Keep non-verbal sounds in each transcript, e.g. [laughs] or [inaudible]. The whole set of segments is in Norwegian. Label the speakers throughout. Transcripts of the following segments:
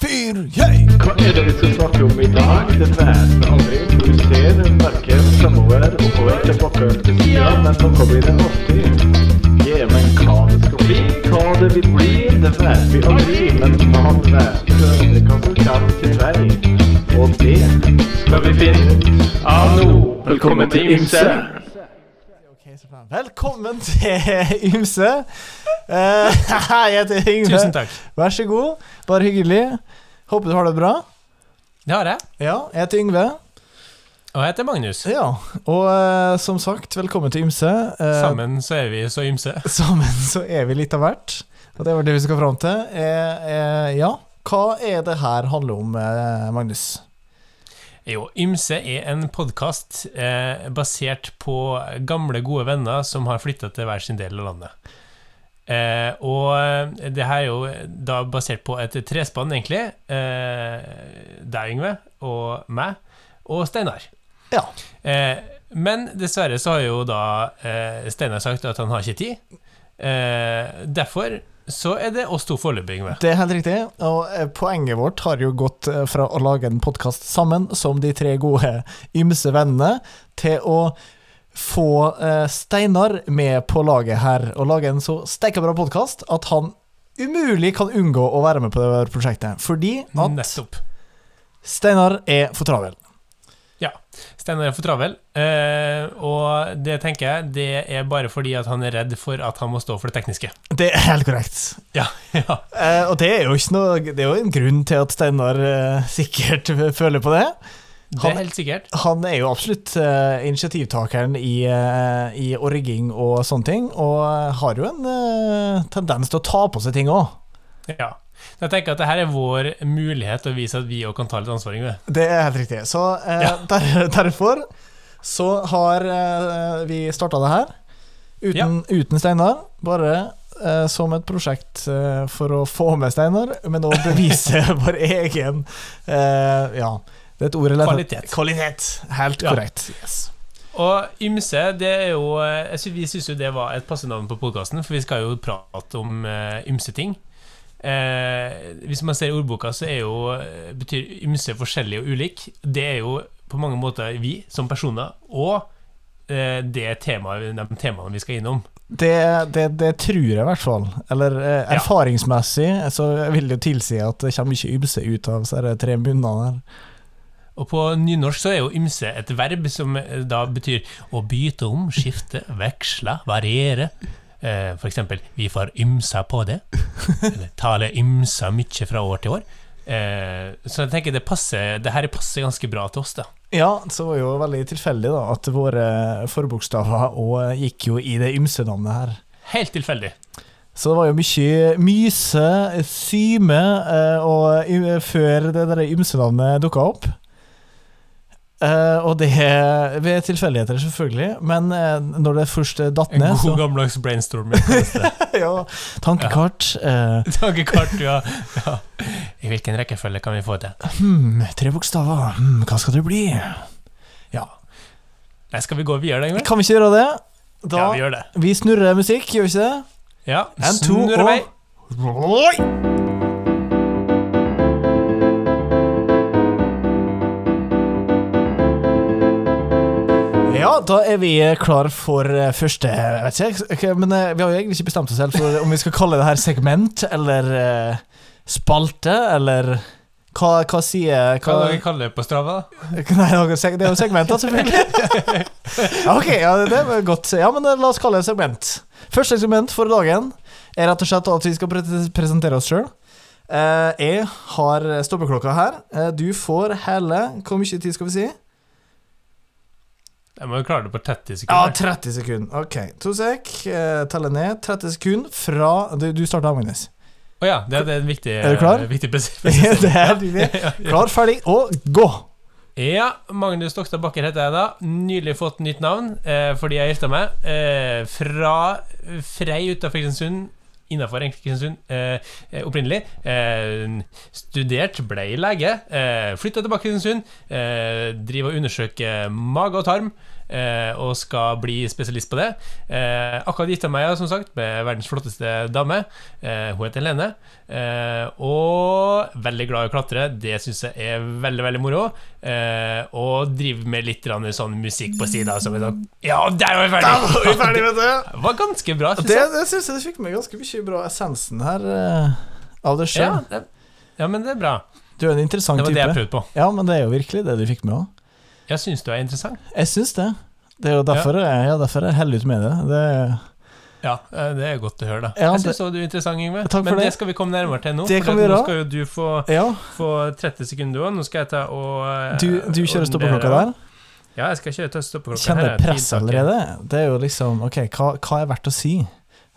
Speaker 1: dyr. Yay!
Speaker 2: Hva er det vi skal snakke om i dag? Det vet vi aldri. Vi ser verken fremover, oppover, tilbake til sida, men noe blir det alltid. Ja, men hva det skal bli, hva det vil bli, det vet vi aldri. Men man vet aldri hva som kommer til vei. Og det skal vi finne ut av nå. Velkommen til Ymse.
Speaker 1: Ok, så bra. Velkommen til Ymse. Eh, [laughs] jeg heter Yngve.
Speaker 3: Tusen takk.
Speaker 1: Vær så god. Bare hyggelig. Håper du har det bra.
Speaker 3: Det har jeg.
Speaker 1: Ja, jeg heter Yngve.
Speaker 3: Og jeg heter Magnus.
Speaker 1: Ja, Og eh, som sagt, velkommen til Ymse. Eh,
Speaker 3: Sammen så er vi så ymse.
Speaker 1: sammen så er vi litt av hvert. Og det var det vi skal fram til. Eh, eh, ja, hva er det her handler om, eh, Magnus?
Speaker 3: Jo, Ymse er en podkast eh, basert på gamle, gode venner som har flytta til hver sin del av landet. Eh, og eh, det her er jo da basert på et trespann, egentlig. Eh, deg, Yngve, og meg, og Steinar.
Speaker 1: Ja.
Speaker 3: Eh, men dessverre så har jo da eh, Steinar sagt at han har ikke tid. Eh, derfor så er det oss to foreløpig, Yngve.
Speaker 1: Det er helt riktig, og eh, poenget vårt har jo gått eh, fra å lage en podkast sammen som de tre gode ymse vennene, til å få eh, Steinar med på laget her, og lage en så steika bra podkast at han umulig kan unngå å være med på det her prosjektet, fordi at
Speaker 3: Nettopp.
Speaker 1: Steinar er for travel.
Speaker 3: Steinar er for travel, eh, og det tenker jeg det er bare fordi at han er redd for at han må stå for det tekniske.
Speaker 1: Det er helt korrekt.
Speaker 3: Ja, ja.
Speaker 1: Eh, og det er jo ikke noe Det er jo en grunn til at Steinar eh, sikkert [laughs] føler på det.
Speaker 3: Det
Speaker 1: Han-
Speaker 3: er helt sikkert.
Speaker 1: Han er jo absolutt eh, initiativtakeren i, eh, i orging og sånne ting, og har jo en eh, tendens til å ta på seg ting òg.
Speaker 3: Ja. Så Jeg tenker at det her er vår mulighet til å vise at vi òg kan ta litt ansvar. Yngve.
Speaker 1: Det er helt riktig. Så eh,
Speaker 3: Ja.
Speaker 1: [laughs] der, derfor så har eh, vi starta det her uten, uten Steinar, bare eh, som et prosjekt eh, for å få med Steinar, men å [laughs] bevise vår egen eh, Ja, det er et ord jeg leter-
Speaker 3: Kvalitet.
Speaker 1: Kvalitet. Helt
Speaker 3: Ja.
Speaker 1: korrekt. Yes.
Speaker 3: Og ymse, det er jo eh, jeg synes, Vi syns jo det var et passe navn på podkasten, for vi skal jo prate om eh, ymse ting. Eh, hvis man ser i ordboka, så er jo, eh, betyr ymse forskjellig og ulik. Det er jo på mange måter vi som personer, og eh, det temaet, de temaene vi skal innom.
Speaker 1: Det, det, det tror jeg i hvert fall. Eller eh,
Speaker 3: Ja.
Speaker 1: erfaringsmessig så vil det jo tilsi at det kommer ikke ymse ut av disse her tre munnene her.
Speaker 3: Og på nynorsk så er jo ymse et verb som eh, da betyr å bytte om, skifte, veksle, variere. Eh, For eksempel 'vi får ymsa på det'. Eller 'tale ymsa mykje fra år til år'. Eh, Så jeg tenker det passer Det her passer ganske bra til oss, da.
Speaker 1: Ja, så var jo veldig tilfeldig da at våre forbokstaver og gikk jo i det ymse-navnet her.
Speaker 3: Helt tilfeldig.
Speaker 1: Så det var jo mye myse, syme eh, og y- før det der ymse-navnet dukka opp. Eh, og det ved tilfeldigheter, selvfølgelig, men eh, når det først datt
Speaker 3: En
Speaker 1: ned,
Speaker 3: god
Speaker 1: så
Speaker 3: gammeldags
Speaker 1: [laughs]
Speaker 3: brainstorming. kalles det.
Speaker 1: Ja, tankekart. eh,
Speaker 3: Tankekart, ja. ja. I hvilken rekkefølge kan vi få det?
Speaker 1: Hmm, tre bokstaver. Hmm, hva skal det bli?
Speaker 3: Nei, skal vi gå videre, Ingvild?
Speaker 1: Kan vi ikke gjøre det? Da,
Speaker 3: Ja, vi
Speaker 1: vi,
Speaker 3: gjør det.
Speaker 1: snurrer musikk, gjør vi ikke det?
Speaker 3: Ja,
Speaker 1: En, to,
Speaker 3: snurr
Speaker 1: og-
Speaker 3: vei.
Speaker 1: Oi! Ja, da er vi klar for eh, første jeg vet ikke, ok, Men eh, vi har jo egentlig ikke bestemt oss helt for om vi skal kalle det her segment eller eh, spalte, eller hva, hva sier
Speaker 3: Hva kaller vi kalle det på Strava? da?
Speaker 1: [laughs] Nei, det er jo seg- det er jo segmenter, selvfølgelig. [laughs] Ja, ok, ja, det var godt. Ja, men eh, la oss kalle det segment. Første segment for dagen er rett og slett at vi skal pre- presentere oss sjøl. Jeg har stoppeklokka her. Eh, Du får hele Hvor mye tid skal vi si?
Speaker 3: Jeg må jo klare det på 30
Speaker 1: Ja,
Speaker 3: sekunder.
Speaker 1: 30 sekunder. Ok, to sek. eh, Telle ned. 30 sekunder fra Du, du starter, Magnus.
Speaker 3: Å ja, det, det er en viktig, eh,
Speaker 1: Er du klar?
Speaker 3: viktig
Speaker 1: [laughs]
Speaker 3: pres-
Speaker 1: Det er riktig.
Speaker 3: [laughs]
Speaker 1: Klar, ferdig og gå!
Speaker 3: Ja, Magnus Dokstad Bakker heter jeg da. Nylig fått nytt navn eh, fordi jeg gifta meg. Eh, fra Frei utafor Kristiansund, innafor Kristiansund eh, eh, opprinnelig. Eh, studert, blei lege. Eh, Flytta tilbake til Kristiansund. Eh, driver og undersøker mage og tarm. eh, og skal bli spesialist på det. Eh, akkurat gifta meg, ja, som sagt, med verdens flotteste dame. Eh, hun heter Helene. Eh, og veldig glad i å klatre. Det syns jeg er veldig veldig moro. Eh, og driver med litt grann sånn musikk på sida. Som en sånn Ja, der var vi
Speaker 1: Da var vi
Speaker 3: ferdig!
Speaker 1: ferdig med det!
Speaker 3: Det var ganske bra. synes
Speaker 1: Det,
Speaker 3: jeg.
Speaker 1: det syns jeg det fikk med ganske mye bra essensen her eh, av deg
Speaker 3: ja,
Speaker 1: sjøl.
Speaker 3: det, ja, men det er bra.
Speaker 1: Du er en interessant
Speaker 3: Det var det jeg
Speaker 1: type.
Speaker 3: prøvde på.
Speaker 1: Ja, men det er jo virkelig det du fikk med òg.
Speaker 3: Jeg syns du er interessant.
Speaker 1: Jeg syns det. Det er jo derfor, jeg- ja. derfor jeg heller ut med det. det
Speaker 3: Ja, eh, det er godt å høre, da.
Speaker 1: Ja,
Speaker 3: jeg
Speaker 1: det-
Speaker 3: syns også du er interessant, Yngve.
Speaker 1: Takk for
Speaker 3: Men det.
Speaker 1: det.
Speaker 3: skal vi komme nærmere til nå.
Speaker 1: Det
Speaker 3: for
Speaker 1: kan
Speaker 3: at
Speaker 1: vi
Speaker 3: nå
Speaker 1: gjøre.
Speaker 3: skal jo du få,
Speaker 1: ja,
Speaker 3: få 30 sekunder òg. Nå skal jeg ta og eh,
Speaker 1: du, du kjører
Speaker 3: ordne-
Speaker 1: stoppeklokka der.
Speaker 3: Ja, jeg skal kjøre ta stoppeklokka. Her
Speaker 1: Kjenner
Speaker 3: er
Speaker 1: press
Speaker 3: tidtaket.
Speaker 1: allerede. Det er jo liksom Ok, hva, hva er verdt å si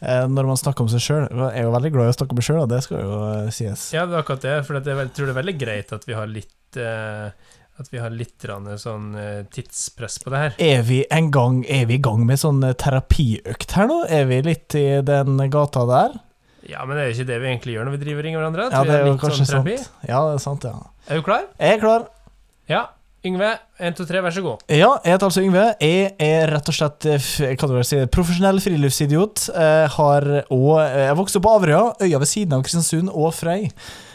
Speaker 1: eh, når man snakker om seg sjøl? Jeg er jo veldig glad i å snakke om meg sjøl, og det skal jo eh, sies.
Speaker 3: Ja, det er akkurat det. For at jeg vel- tror det er veldig greit at vi har litt eh, At vi har litt grann sånn eh, tidspress på det her.
Speaker 1: Er vi en gang Er vi i gang med sånn eh, terapiøkt her nå? Er vi litt i den gata der?
Speaker 3: Ja, men det er jo ikke det vi egentlig gjør når vi driver og ringer hverandre. at
Speaker 1: Ja,
Speaker 3: vi
Speaker 1: det
Speaker 3: har
Speaker 1: er jo
Speaker 3: litt
Speaker 1: kanskje
Speaker 3: sånn terapi.
Speaker 1: sant. Ja, det er sant, ja.
Speaker 3: Er du klar?
Speaker 1: Jeg er klar.
Speaker 3: Ja. Yngve, én, to, tre, vær så god.
Speaker 1: Ja, jeg heter altså Yngve. Jeg er rett og slett eh, f- jeg kan vel si, profesjonell friluftsidiot. Eh, har og, eh, jeg vokste opp på Averøya, øya ved siden av Kristiansund og Frei.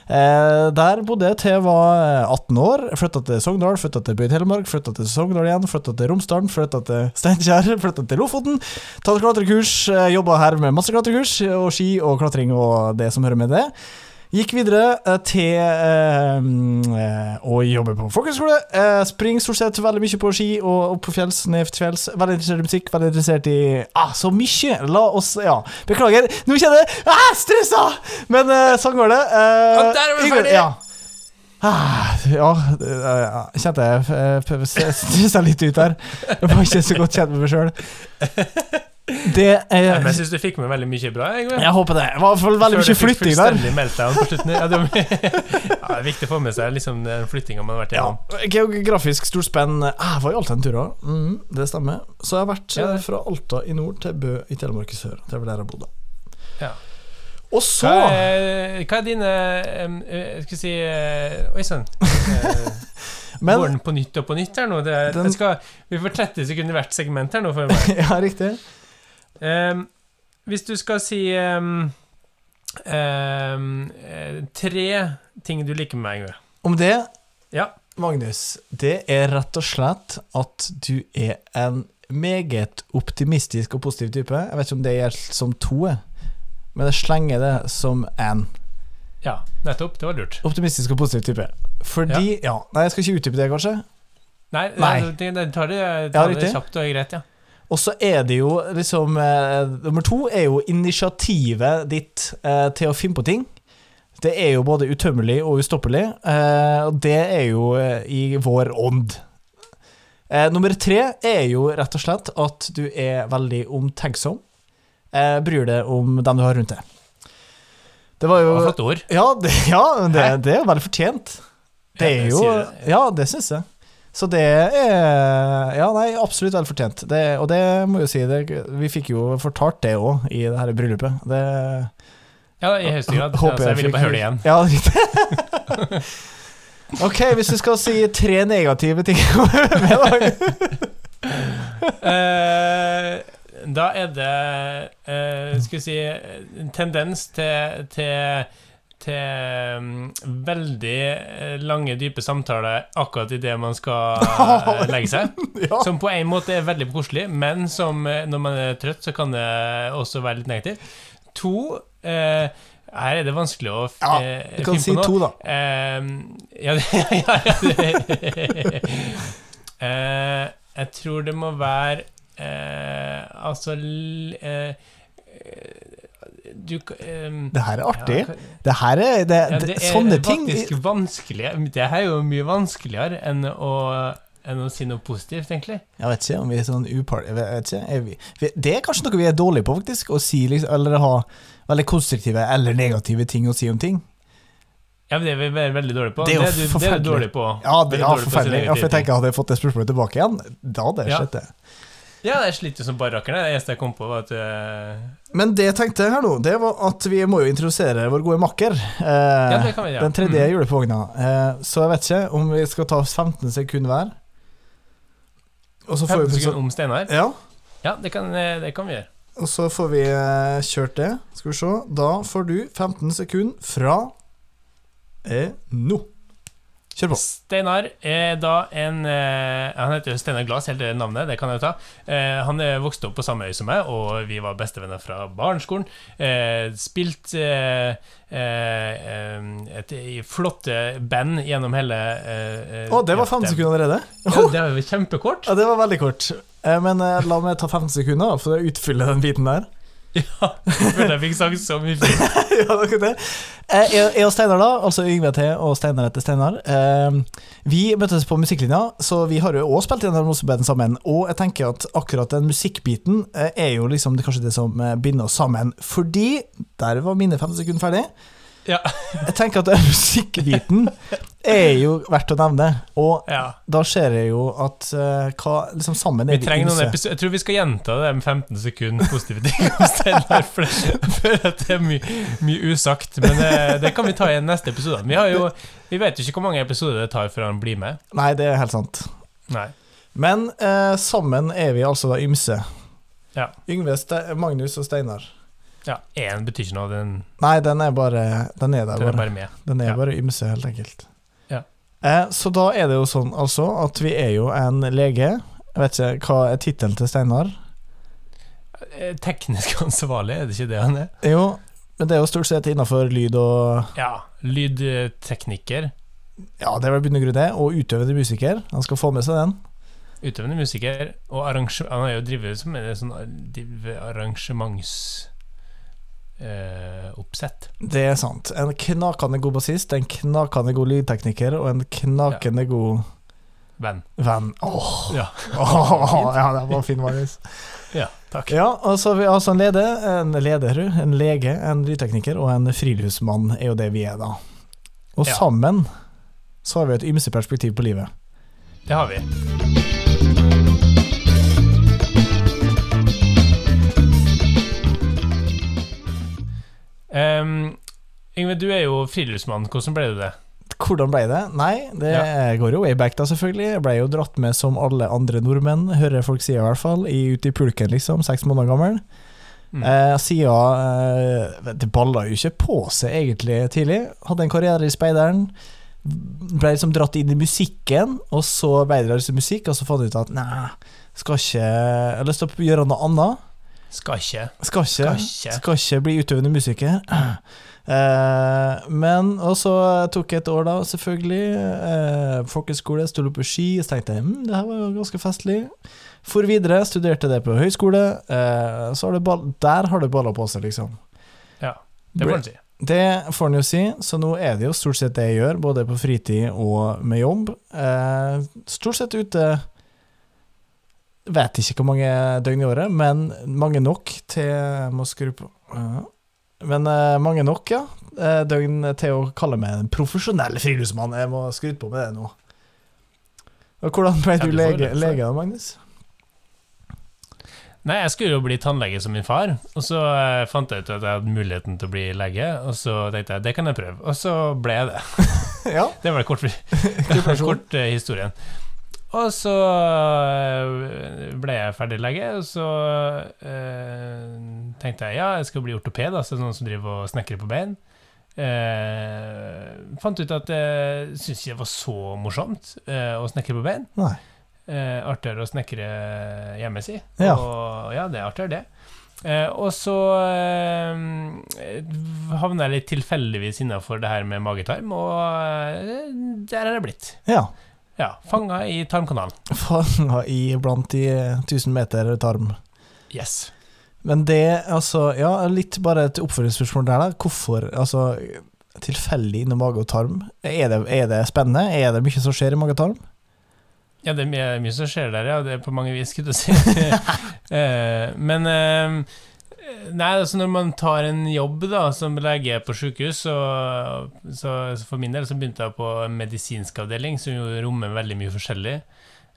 Speaker 1: Eh, der bodde jeg til jeg var eh, 18 år. Flytta til Sogndal, flytta til Bøy Telemark, flytta til Sogndal igjen, flytta til Romsdalen, flytta til Steinkjer, flytta til Lofoten. Tatt klatrekurs, eh, jobba her med masse klatrekurs og ski og klatring og det som hører med det. Gikk videre eh, til eh, mm, eh, å jobbe på folkehøgskole. Eh, springer stort sett veldig mye på ski og opp på fjells, ned til fjells. Veldig interessert i musikk, veldig interessert i ah, så mye! La oss Ja, beklager. Nå kjenner jeg ah, stressa! Men eh, sånn går det. Eh,
Speaker 3: Og der var vi
Speaker 1: Yngve-
Speaker 3: ferdig!
Speaker 1: Ja. Ah, ja, eh, ja, kjente jeg eh, p- p- [laughs] stressa litt ut der. Jeg var ikke så godt kjent med meg sjøl. Det er
Speaker 3: Men jeg syns du fikk med veldig mye bra. Yngve.
Speaker 1: Jeg håper det. Det var i hvert fall veldig mye flytting der.
Speaker 3: Fullstendig meltdown på slutten. Ja, det, [laughs] ja, det er viktig å få med seg liksom, den flyttinga man har vært
Speaker 1: Ja,
Speaker 3: igjennom.
Speaker 1: geografisk stort spenn. Ah, Jeg var i Alta en tur òg, mm, det stemmer. Så jeg har vært
Speaker 3: Ja,
Speaker 1: eh,
Speaker 3: det.
Speaker 1: fra Alta i nord til Bø i Telemark i sør. Det var der jeg bodde.
Speaker 3: Ja.
Speaker 1: Og så
Speaker 3: Hva er, hva er dine em, eh, Skal vi si eh, Oi sann. Eh, Går
Speaker 1: Men
Speaker 3: den på nytt og på nytt her nå? Det er,
Speaker 1: Den-
Speaker 3: jeg skal, vi får 30 sekunder hvert segment her nå. For meg.
Speaker 1: [laughs] Ja, riktig.
Speaker 3: Ehm, hvis du skal si ehm, ehm, eh, tre ting du liker med meg, Yngve.
Speaker 1: Om det,
Speaker 3: Ja.
Speaker 1: Magnus, det er rett og slett at du er en meget optimistisk og positiv type. Jeg vet ikke om det gjelder som to, jeg. men jeg slenger det som én.
Speaker 3: Ja, nettopp. Det var lurt.
Speaker 1: Optimistisk og positiv type. Fordi ja. Nei, jeg skal ikke utdype det, kanskje.
Speaker 3: Nei,
Speaker 1: Nei.
Speaker 3: altså, det- det tar det,
Speaker 1: Ja,
Speaker 3: tar det
Speaker 1: riktig.
Speaker 3: kjapt og greit, ja.
Speaker 1: Og så er det jo liksom eh, Nummer to er jo initiativet ditt eh, til å finne på ting. Det er jo både utømmelig og ustoppelig, eh, og det er jo eh, i vår ånd. Eh, nummer tre er jo rett og slett at du er veldig omtenksom. Eh, bryr deg om dem du har rundt deg. Det var
Speaker 3: Det
Speaker 1: jo
Speaker 3: var flott ord.
Speaker 1: Ja, det, ja, men det,
Speaker 3: Hæ?
Speaker 1: det er jo veldig fortjent. Det er
Speaker 3: Ja, det
Speaker 1: jo
Speaker 3: sier det.
Speaker 1: Ja, det syns jeg. Så det er Ja, nei, absolutt vel fortjent. Det, og det må jeg jo si, det, vi fikk jo fortalt det òg i det her bryllupet. Det
Speaker 3: Ja, i høyeste grad.
Speaker 1: håper
Speaker 3: Altså, jeg ville
Speaker 1: fikk-
Speaker 3: bare høre det igjen.
Speaker 1: Ja, [laughs] riktig. ok, hvis du skal si tre negative ting [laughs] med da.
Speaker 3: Eh, da er det eh, Skal vi si en tendens til, til til mm, veldig eh, lange, dype samtaler akkurat idet man
Speaker 1: [laughs]
Speaker 3: skal eh, legge seg.
Speaker 1: Ja.
Speaker 3: Som på en måte er veldig koselig, men som eh, når man er trøtt, så kan det også være litt negativt. To eh, Her er det vanskelig å f-
Speaker 1: Ja,
Speaker 3: eh,
Speaker 1: Du
Speaker 3: finne
Speaker 1: kan
Speaker 3: på
Speaker 1: si
Speaker 3: noe.
Speaker 1: to, da.
Speaker 3: Ehm, ja, [laughs] ja, ja, det. Eh, Jeg tror det må være eh, Altså l- eh, eh, Du k- ehm,
Speaker 1: Det her er artig.
Speaker 3: ja, hva-
Speaker 1: Det her er, det,
Speaker 3: ja,
Speaker 1: det,
Speaker 3: det er
Speaker 1: Sånne ting
Speaker 3: faktisk vanskelig Det her er jo mye vanskeligere enn å, enn å si noe positivt, egentlig.
Speaker 1: Jeg vet ikke om vi er sånn uparty... Jeg vet ikke. Er vi, vi, det er kanskje noe vi er dårlige på, faktisk. Å si liksom, eller ha veldig konstruktive eller negative ting å si om ting.
Speaker 3: Ja, men Det er vi ve- veldig dårlige på.
Speaker 1: Det er jo
Speaker 3: du- Det er
Speaker 1: forferdelig.
Speaker 3: du dårlig på.
Speaker 1: Ja, det,
Speaker 3: Veldig
Speaker 1: ja
Speaker 3: dårlig på å si
Speaker 1: forferdelig. Ja, for
Speaker 3: negative
Speaker 1: jeg tenker Hadde jeg fått det spørsmålet tilbake igjen, da hadde jeg
Speaker 3: Ja.
Speaker 1: sett det.
Speaker 3: ting. Ja, jeg sliter som bare rakkeren. Det eneste jeg kom på, var at eh,
Speaker 1: Men det jeg tenkte her nå, det var at vi må jo introdusere vår gode makker. Eh,
Speaker 3: Ja, Mm. det kan vi gjøre.
Speaker 1: Den tredje julepogna. Eh, så jeg vet ikke om vi skal ta 15 sekunder hver. Og så får
Speaker 3: 15
Speaker 1: vi
Speaker 3: sekunder om Steinar.
Speaker 1: Ja,
Speaker 3: Ja, det kan, eh, det kan vi gjøre.
Speaker 1: og så får vi eh, kjørt det. Skal vi se. Da får du 15 sekunder fra eh, nå. Kjør på.
Speaker 3: Steinar er da en eh, Han heter jo Steinar Glass, hele navnet, det kan jeg jo ta. Eh, han eh, vokste opp på samme øy som meg, og vi var bestevenner fra barneskolen. Eh, spilt eh, eh, eh, et i flotte band gjennom hele eh, eh,
Speaker 1: Å, det var
Speaker 3: ja,
Speaker 1: 15 sekunder allerede.
Speaker 3: Ja, det var jo kjempekort.
Speaker 1: Ja, det var veldig kort. Eh, men eh, la meg ta 15 sekunder da, for å utfylle den biten der.
Speaker 3: Ja, jeg følte jeg fikk sagt så mye fint.
Speaker 1: [laughs] ja, det er ikke det. Eh, Jeg jeg og Steinar, da, altså Yngve T og Steinar etter Steinar, eh, vi møttes på musikklinja, så vi har jo òg spilt i en Roseband sammen. Og jeg tenker at akkurat den musikkbiten eh, er jo liksom det, kanskje det som eh, binder oss sammen. Fordi Der var mine 50 sekunder ferdig.
Speaker 3: Ja.
Speaker 1: [laughs] Jeg tenker at den musikkbiten er jo verdt å nevne. Og
Speaker 3: ja.
Speaker 1: da ser jeg jo at eh, hva liksom sammen
Speaker 3: Vi
Speaker 1: er
Speaker 3: trenger noen
Speaker 1: ymse.
Speaker 3: episoder Jeg tror vi skal gjenta det med 15 sekunder positive ting om Steinar, for jeg føler at det er mye, mye usagt. Men det, det kan vi ta i neste episode. Vi, har jo, vi vet jo ikke hvor mange episoder det tar før han blir med.
Speaker 1: Nei, det er helt sant.
Speaker 3: Nei.
Speaker 1: Men eh, sammen er vi altså da ymse.
Speaker 3: Ja.
Speaker 1: Yngve, Ste Magnus og Steinar.
Speaker 3: Ja, Én betyr ikke noe, den,
Speaker 1: Nei, den er bare Den er der
Speaker 3: den er
Speaker 1: bare.
Speaker 3: bare med.
Speaker 1: Den er
Speaker 3: ja.
Speaker 1: bare ymse, helt enkelt.
Speaker 3: Ja.
Speaker 1: Eh, så da er det jo sånn, altså, at vi er jo en lege. Jeg vet ikke, hva er tittelen til Steinar?
Speaker 3: Eh, Teknisk [laughs] ansvarlig, er det ikke det han er?
Speaker 1: Jo, men det er jo stort sett innafor lyd og
Speaker 3: Ja. Lydtekniker.
Speaker 1: Ja, det er vel i bunn og grunn det. Og utøvende musiker. Han skal få med seg den.
Speaker 3: Utøvende musiker. Og arrange, han har jo drevet som en sånn arrangementsoppsett. Eh, oppsett.
Speaker 1: Det er sant. En knakende god bassist, en knakende god lydtekniker og en knakende god
Speaker 3: Venn.
Speaker 1: venn. Åh,
Speaker 3: Ja.
Speaker 1: [laughs] åh, ja, det var fin, Marius.
Speaker 3: [laughs] ja. Takk.
Speaker 1: Ja, og så har vi altså en leder, en leder, en lege, en lydtekniker og en friluftsmann er jo det vi er, da. Og
Speaker 3: Ja.
Speaker 1: sammen så har vi et ymse perspektiv på livet.
Speaker 3: Det har vi. Ehm, Yngve, du er jo friluftsmann. Hvordan ble du det?
Speaker 1: Hvordan ble det? Nei, det går jo way back, da, selvfølgelig. Jeg ble jo dratt med som alle andre nordmenn, hører folk si i hvert fall, i, ute i pulken, liksom, seks måneder gammel.
Speaker 3: Mm.
Speaker 1: Eh, siden eh, Det balla jo ikke på seg egentlig tidlig. Hadde en karriere i speideren. Ble liksom dratt inn i musikken, og så ble det liksom musikk, og så fant jeg ut at nei, skal ikke Jeg har lyst til å gjøre noe annet.
Speaker 3: Skal ikke.
Speaker 1: Skal ikke,
Speaker 3: Skal ikke.
Speaker 1: skal ikke bli utøvende musiker. [clears throat] Eh, men Og så tok jeg et år, da, selvfølgelig. Eh, folkeskole, sto opp på ski, så tenkte jeg hm, det her var jo ganske festlig. For videre, studerte det på høyskole. Eh, så har det ball, der har det balla på seg, liksom.
Speaker 3: Ja, det får en si.
Speaker 1: Det får en jo si, så nå er det jo stort sett det jeg gjør, både på fritid og med jobb. Eh, stort sett ute Vet ikke hvor mange døgn i året, men mange nok til jeg Må skru på ja. Men eh, mange nok, ja. eh, Døgn til å kalle meg en profesjonell friluftsmann. Jeg må skryte på med det nå. Og hvordan ble
Speaker 3: Ja,
Speaker 1: du
Speaker 3: du får
Speaker 1: lege,
Speaker 3: det, for-
Speaker 1: lege da, Magnus?
Speaker 3: Nei, jeg skulle jo bli tannlege som min far, og så eh, fant jeg ut at jeg hadde muligheten til å bli lege, og så tenkte jeg det kan jeg prøve, og så ble jeg det.
Speaker 1: ja,
Speaker 3: Det var kort,
Speaker 1: kul person.
Speaker 3: kort eh, historien. Og så eh, ble jeg ferdig lege, og så eh, tenkte jeg ja, jeg skal bli ortoped, altså noen som driver og snekrer på bein. Eh, fant ut at jeg syntes ikke det var så morsomt eh, å snekre på bein.
Speaker 1: Nei.
Speaker 3: Eh, artigere å snekre hjemme si.
Speaker 1: Ja.
Speaker 3: Og ja, det er artigere, det. Eh, og så eh, havna jeg litt tilfeldigvis innafor det her med magetarm, og eh, der er jeg blitt.
Speaker 1: [laughs] Ja.
Speaker 3: Ja, fanga i tarmkanalen.
Speaker 1: Fanga i blant de 1000 meter tarm.
Speaker 3: Yes.
Speaker 1: Men det, altså Ja, litt bare et oppfølgingsspørsmål der, da. Hvorfor altså, tilfeldig innom mage og tarm? Er det, er det spennende? Er det mye som skjer i mage og tarm?
Speaker 3: Ja, det er mye, mye som skjer der, ja. Det er på mange vis, skulle jeg si. [laughs] Eh, Men eh, Nei, altså når man tar en jobb da som lege på sykehus, så, så, så for min del så begynte jeg på en medisinsk avdeling, som jo rommer veldig mye forskjellig.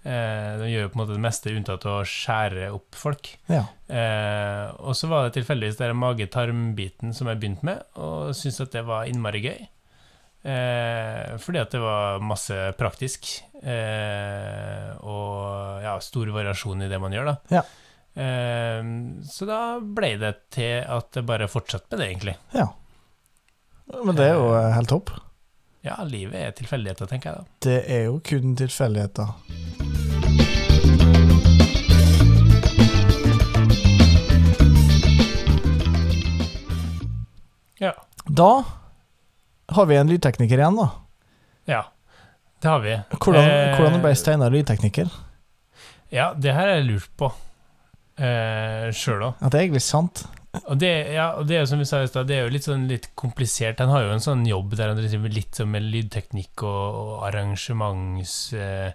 Speaker 3: Eh, De gjør jo på en måte det meste unntatt å skjære opp folk.
Speaker 1: Ja.
Speaker 3: Eh, og så var det tilfeldigvis den mage-tarm-biten som jeg begynte med, og syntes at det var innmari gøy. Eh, fordi at det var masse praktisk, eh, og ja, stor variasjon i det man gjør, da.
Speaker 1: Ja.
Speaker 3: Eh, så da ble det til at jeg bare fortsatte med det, egentlig.
Speaker 1: Men det er jo eh, helt topp.
Speaker 3: Ja, livet er tilfeldigheter, tenker jeg da.
Speaker 1: Det er jo kun tilfeldigheter.
Speaker 3: Ja.
Speaker 1: Da har vi en lydtekniker igjen, da.
Speaker 3: Ja, det har vi.
Speaker 1: Hvordan,
Speaker 3: Eh,
Speaker 1: hvordan ble Steinar lydtekniker?
Speaker 3: Ja, det her har jeg lurt på eh, sjøl òg.
Speaker 1: Ja, det er egentlig sant.
Speaker 3: Og, det- ja, og det er jo som vi sa i stad, det er jo litt sånn litt komplisert. Han har jo en sånn jobb der han driver litt sånn med lydteknikk og, og arrangements... Eh,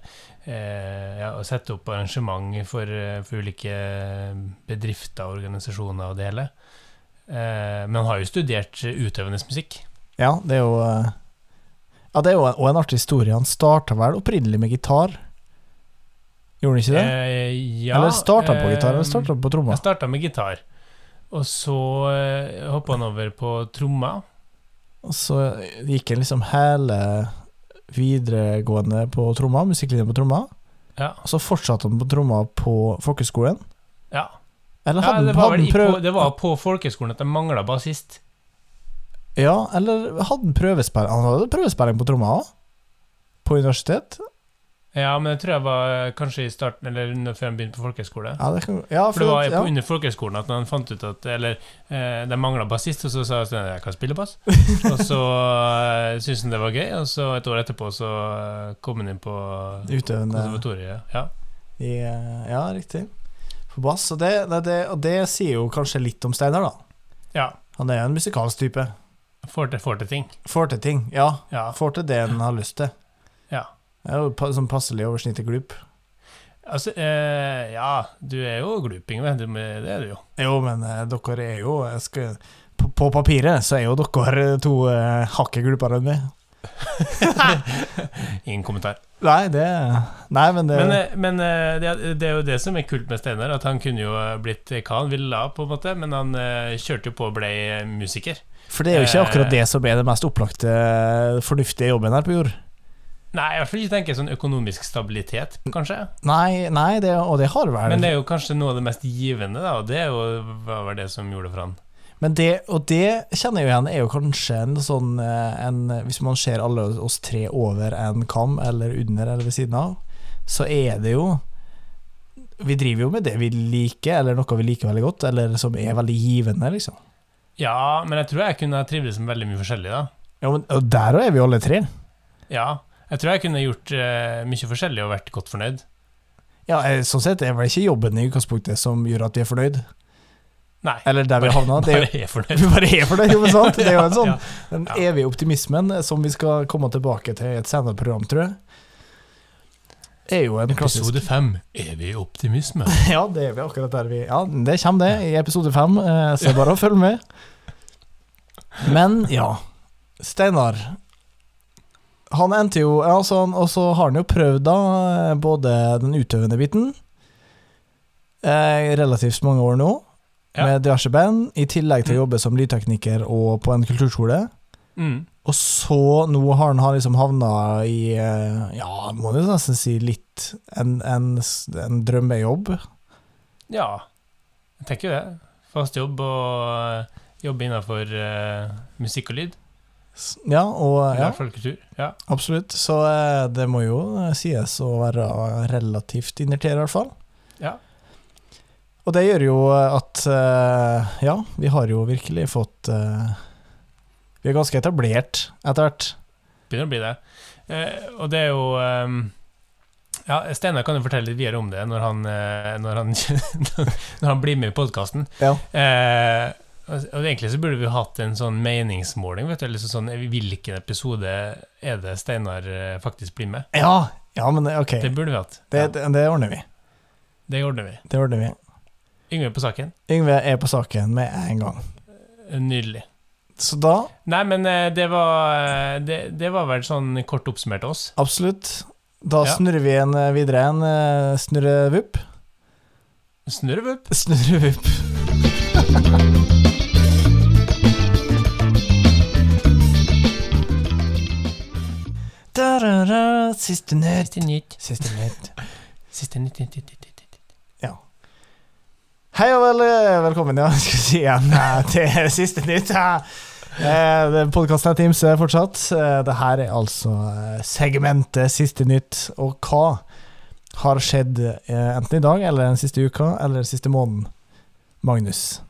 Speaker 3: eh, ja, og sette opp arrangement for, eh, for ulike bedrifter og organisasjoner og det hele. Eh, men han har jo studert utøvende musikk.
Speaker 1: Ja, det er jo eh, Ja, det er jo en, og en artig historie. Han starta vel opprinnelig med gitar. Gjorde han ikke det?
Speaker 3: Eh, ja,
Speaker 1: eller starta han på gitar, eller
Speaker 3: eh,
Speaker 1: starta han på tromma?
Speaker 3: Jeg starta med gitar, og så eh, hoppa han over på tromma.
Speaker 1: Og så gikk han liksom hele videregående på tromma, musikklinja på tromma.
Speaker 3: Ja.
Speaker 1: Og så fortsatte han på tromma på folkeskolen.
Speaker 3: ja.
Speaker 1: Eller
Speaker 3: ja
Speaker 1: hadde han-
Speaker 3: det, var
Speaker 1: hadde
Speaker 3: vel
Speaker 1: han
Speaker 3: i,
Speaker 1: prøv...
Speaker 3: på, det var på folkehøgskolen at de mangla bassist.
Speaker 1: Ja, eller hadde han prøvespilling Han hadde prøvespilling på tromma òg? På universitet?
Speaker 3: Ja, men det tror jeg var eh, kanskje i starten, eller under- før han begynte på folkehøgskole.
Speaker 1: Ja, det kan ja,
Speaker 3: For det var
Speaker 1: ja.
Speaker 3: på, under folkehøgskolen at han fant ut at Eller eh, de mangla bassist, og så sa han at jeg kan spille
Speaker 1: [laughs]
Speaker 3: bass. og så eh, syntes han det var gøy, og så et år etterpå så eh, kom han inn på Altså,
Speaker 1: Utøvende
Speaker 3: konservatoriet. Ja.
Speaker 1: i, eh, Ja, riktig. På bass. Og det, det, det, og det sier jo kanskje litt om Steinar, da.
Speaker 3: ja.
Speaker 1: Han er jo en musikalsk type.
Speaker 3: Får til, får til ting.
Speaker 1: Får til ting, ja.
Speaker 3: Ja.
Speaker 1: Får til det han har lyst til.
Speaker 3: Ja.
Speaker 1: Det er jo pa- sånn passelig over snittet glup.
Speaker 3: Altså, eh, ja, du er jo gluping, vet du, men det er du jo.
Speaker 1: Jo, men eh, dere er jo jeg skal, på, på papiret så er jo dere to eh, hakket glupere enn meg.
Speaker 3: Ingen kommentar.
Speaker 1: Nei, det Nei, men det
Speaker 3: Men, eh, men eh, det, det er jo det som er kult med Steinar, at han kunne jo eh, blitt hva han ville, på en måte, men han eh, kjørte jo på og ble musiker.
Speaker 1: For det er jo ikke
Speaker 3: eh,
Speaker 1: akkurat det som er den mest opplagte eh, fornuftige jobben her på jord.
Speaker 3: Nei, i hvert fall ikke tenker sånn økonomisk stabilitet, kanskje.
Speaker 1: Nei, nei det, og det har vel
Speaker 3: Men det er jo kanskje noe av det mest givende, da, og det er jo, var vel det som gjorde det for han.
Speaker 1: Men det, og det kjenner jeg jo igjen, er jo kanskje en sånn eh, en, Hvis man ser alle oss tre over en kam, eller under, eller ved siden av, så er det jo Vi driver jo med det vi liker, eller noe vi liker veldig godt, eller som er veldig givende, liksom.
Speaker 3: Ja, men jeg tror jeg kunne ha trivdes med veldig mye forskjellig, da.
Speaker 1: Ja, men, og der er vi jo alle tre.
Speaker 3: Ja. Jeg tror jeg kunne gjort eh, mye forskjellig og vært godt fornøyd.
Speaker 1: Ja, eh, Sånn sett er vel ikke jobben i utgangspunktet som gjør at vi er fornøyd,
Speaker 3: Nei,
Speaker 1: eller der vi havna. Det er jo
Speaker 3: [laughs] bare er
Speaker 1: [laughs]
Speaker 3: fornøyd.
Speaker 1: vi bare er fornøyd, jo, men sant? Det er jo en sånn
Speaker 3: Ja,
Speaker 1: den
Speaker 3: Ja.
Speaker 1: evige optimismen eh, som vi skal komme tilbake til i et senere program, tror jeg. Er jo en klassisk
Speaker 3: Episode fem. Evig optimisme.
Speaker 1: Ja, det er vi akkurat der vi Ja, det kommer det i episode fem, eh, så det er bare å følge med. Men [laughs] ja, Steinar. Han endte jo ja, så han, Og så har han jo prøvd, da, eh, både den utøvende biten eh, i relativt mange år nå,
Speaker 3: Ja.
Speaker 1: med diverse band, i tillegg til å jobbe som lydtekniker og på en kulturskole.
Speaker 3: Mm.
Speaker 1: Og så nå har han har liksom havna i eh, Ja, må du nesten si litt En, en, s- en drømmejobb.
Speaker 3: Ja, jeg tenker jo det. Fast jobb og øh, jobbe innenfor øh, musikk og lyd.
Speaker 1: S- Ja, og
Speaker 3: I
Speaker 1: ja,
Speaker 3: hvert fall kultur. Ja.
Speaker 1: absolutt. Så eh, det må jo eh, sies å være relativt innertier, i hvert fall.
Speaker 3: Ja.
Speaker 1: Og det gjør jo at eh, Ja, vi har jo virkelig fått eh, Vi er ganske etablert etter hvert.
Speaker 3: Begynner å bli det. Eh, og det er jo ehm, ja, Steinar kan jo fortelle litt videre om det når han, eh, når han, [laughs] når han blir med i podkasten.
Speaker 1: Ja.
Speaker 3: Eh, og og egentlig så burde vi hatt en sånn meningsmåling. Vet du, eller sånn, eh, Hvilken episode er det Steinar eh, faktisk blir med?
Speaker 1: Ja, ja men eh, OK.
Speaker 3: Det burde vi hatt.
Speaker 1: Det,
Speaker 3: ja,
Speaker 1: det, det ordner vi.
Speaker 3: det ordner vi.
Speaker 1: Det ordner vi.
Speaker 3: Yngve på saken.
Speaker 1: Yngve er på saken med en gang.
Speaker 3: Nydelig.
Speaker 1: Så da
Speaker 3: Nei, men eh, det var, eh, det, det var vel sånn kort oppsummert oss.
Speaker 1: Absolutt. Da
Speaker 3: Ja.
Speaker 1: snurrer vi en eh, videre en eh, snurrevupp.
Speaker 3: Snurrevup.
Speaker 1: Snurrevupp. Da-da-da, Siste nytt.
Speaker 3: Siste nytt.
Speaker 1: Siste nytt.
Speaker 3: Siste nytt, nytt, nytt, nytt, nytt.
Speaker 1: Hei og vel, eh, velkommen, ja, [laughs] skal vi si igjen eh, til siste nytt. ja. Eh, det er Podkasten er Timse fortsatt. Eh, Det her er altså eh, segmentet Siste nytt. Og hva har skjedd eh, enten i dag eller den siste uka eller den siste måneden? Magnus.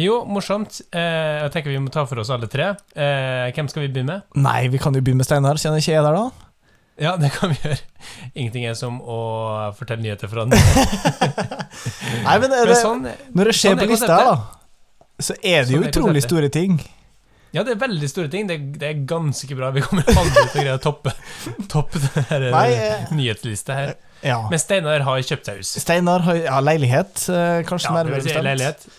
Speaker 3: Jo, morsomt. Eh, jeg tenker vi må ta for oss alle tre. Eh, hvem skal vi begynne med?
Speaker 1: Nei, vi kan jo begynne med Steinar, siden han ikke er der, da.
Speaker 3: Ja, det kan vi gjøre. Ingenting er som å fortelle nyheter [laughs] fra andre.
Speaker 1: [laughs] Nei, men er
Speaker 3: Men
Speaker 1: det,
Speaker 3: sånn,
Speaker 1: når det skjer
Speaker 3: sånn er
Speaker 1: på lista her, da, så er det jo
Speaker 3: Sånn er
Speaker 1: utrolig
Speaker 3: konseptet.
Speaker 1: store ting.
Speaker 3: ja, det er veldig store ting. Det, det er ganske bra. Vi kommer aldri til å greie å [laughs] toppe, toppe den her eh,
Speaker 1: Nei, eh,
Speaker 3: nyhetslista her.
Speaker 1: Ja.
Speaker 3: Men Steinar har kjøpt seg hus.
Speaker 1: Steinar har ja, leilighet, eh, kanskje
Speaker 3: Ja, det
Speaker 1: nærmere
Speaker 3: vil si
Speaker 1: bestemt.
Speaker 3: leilighet.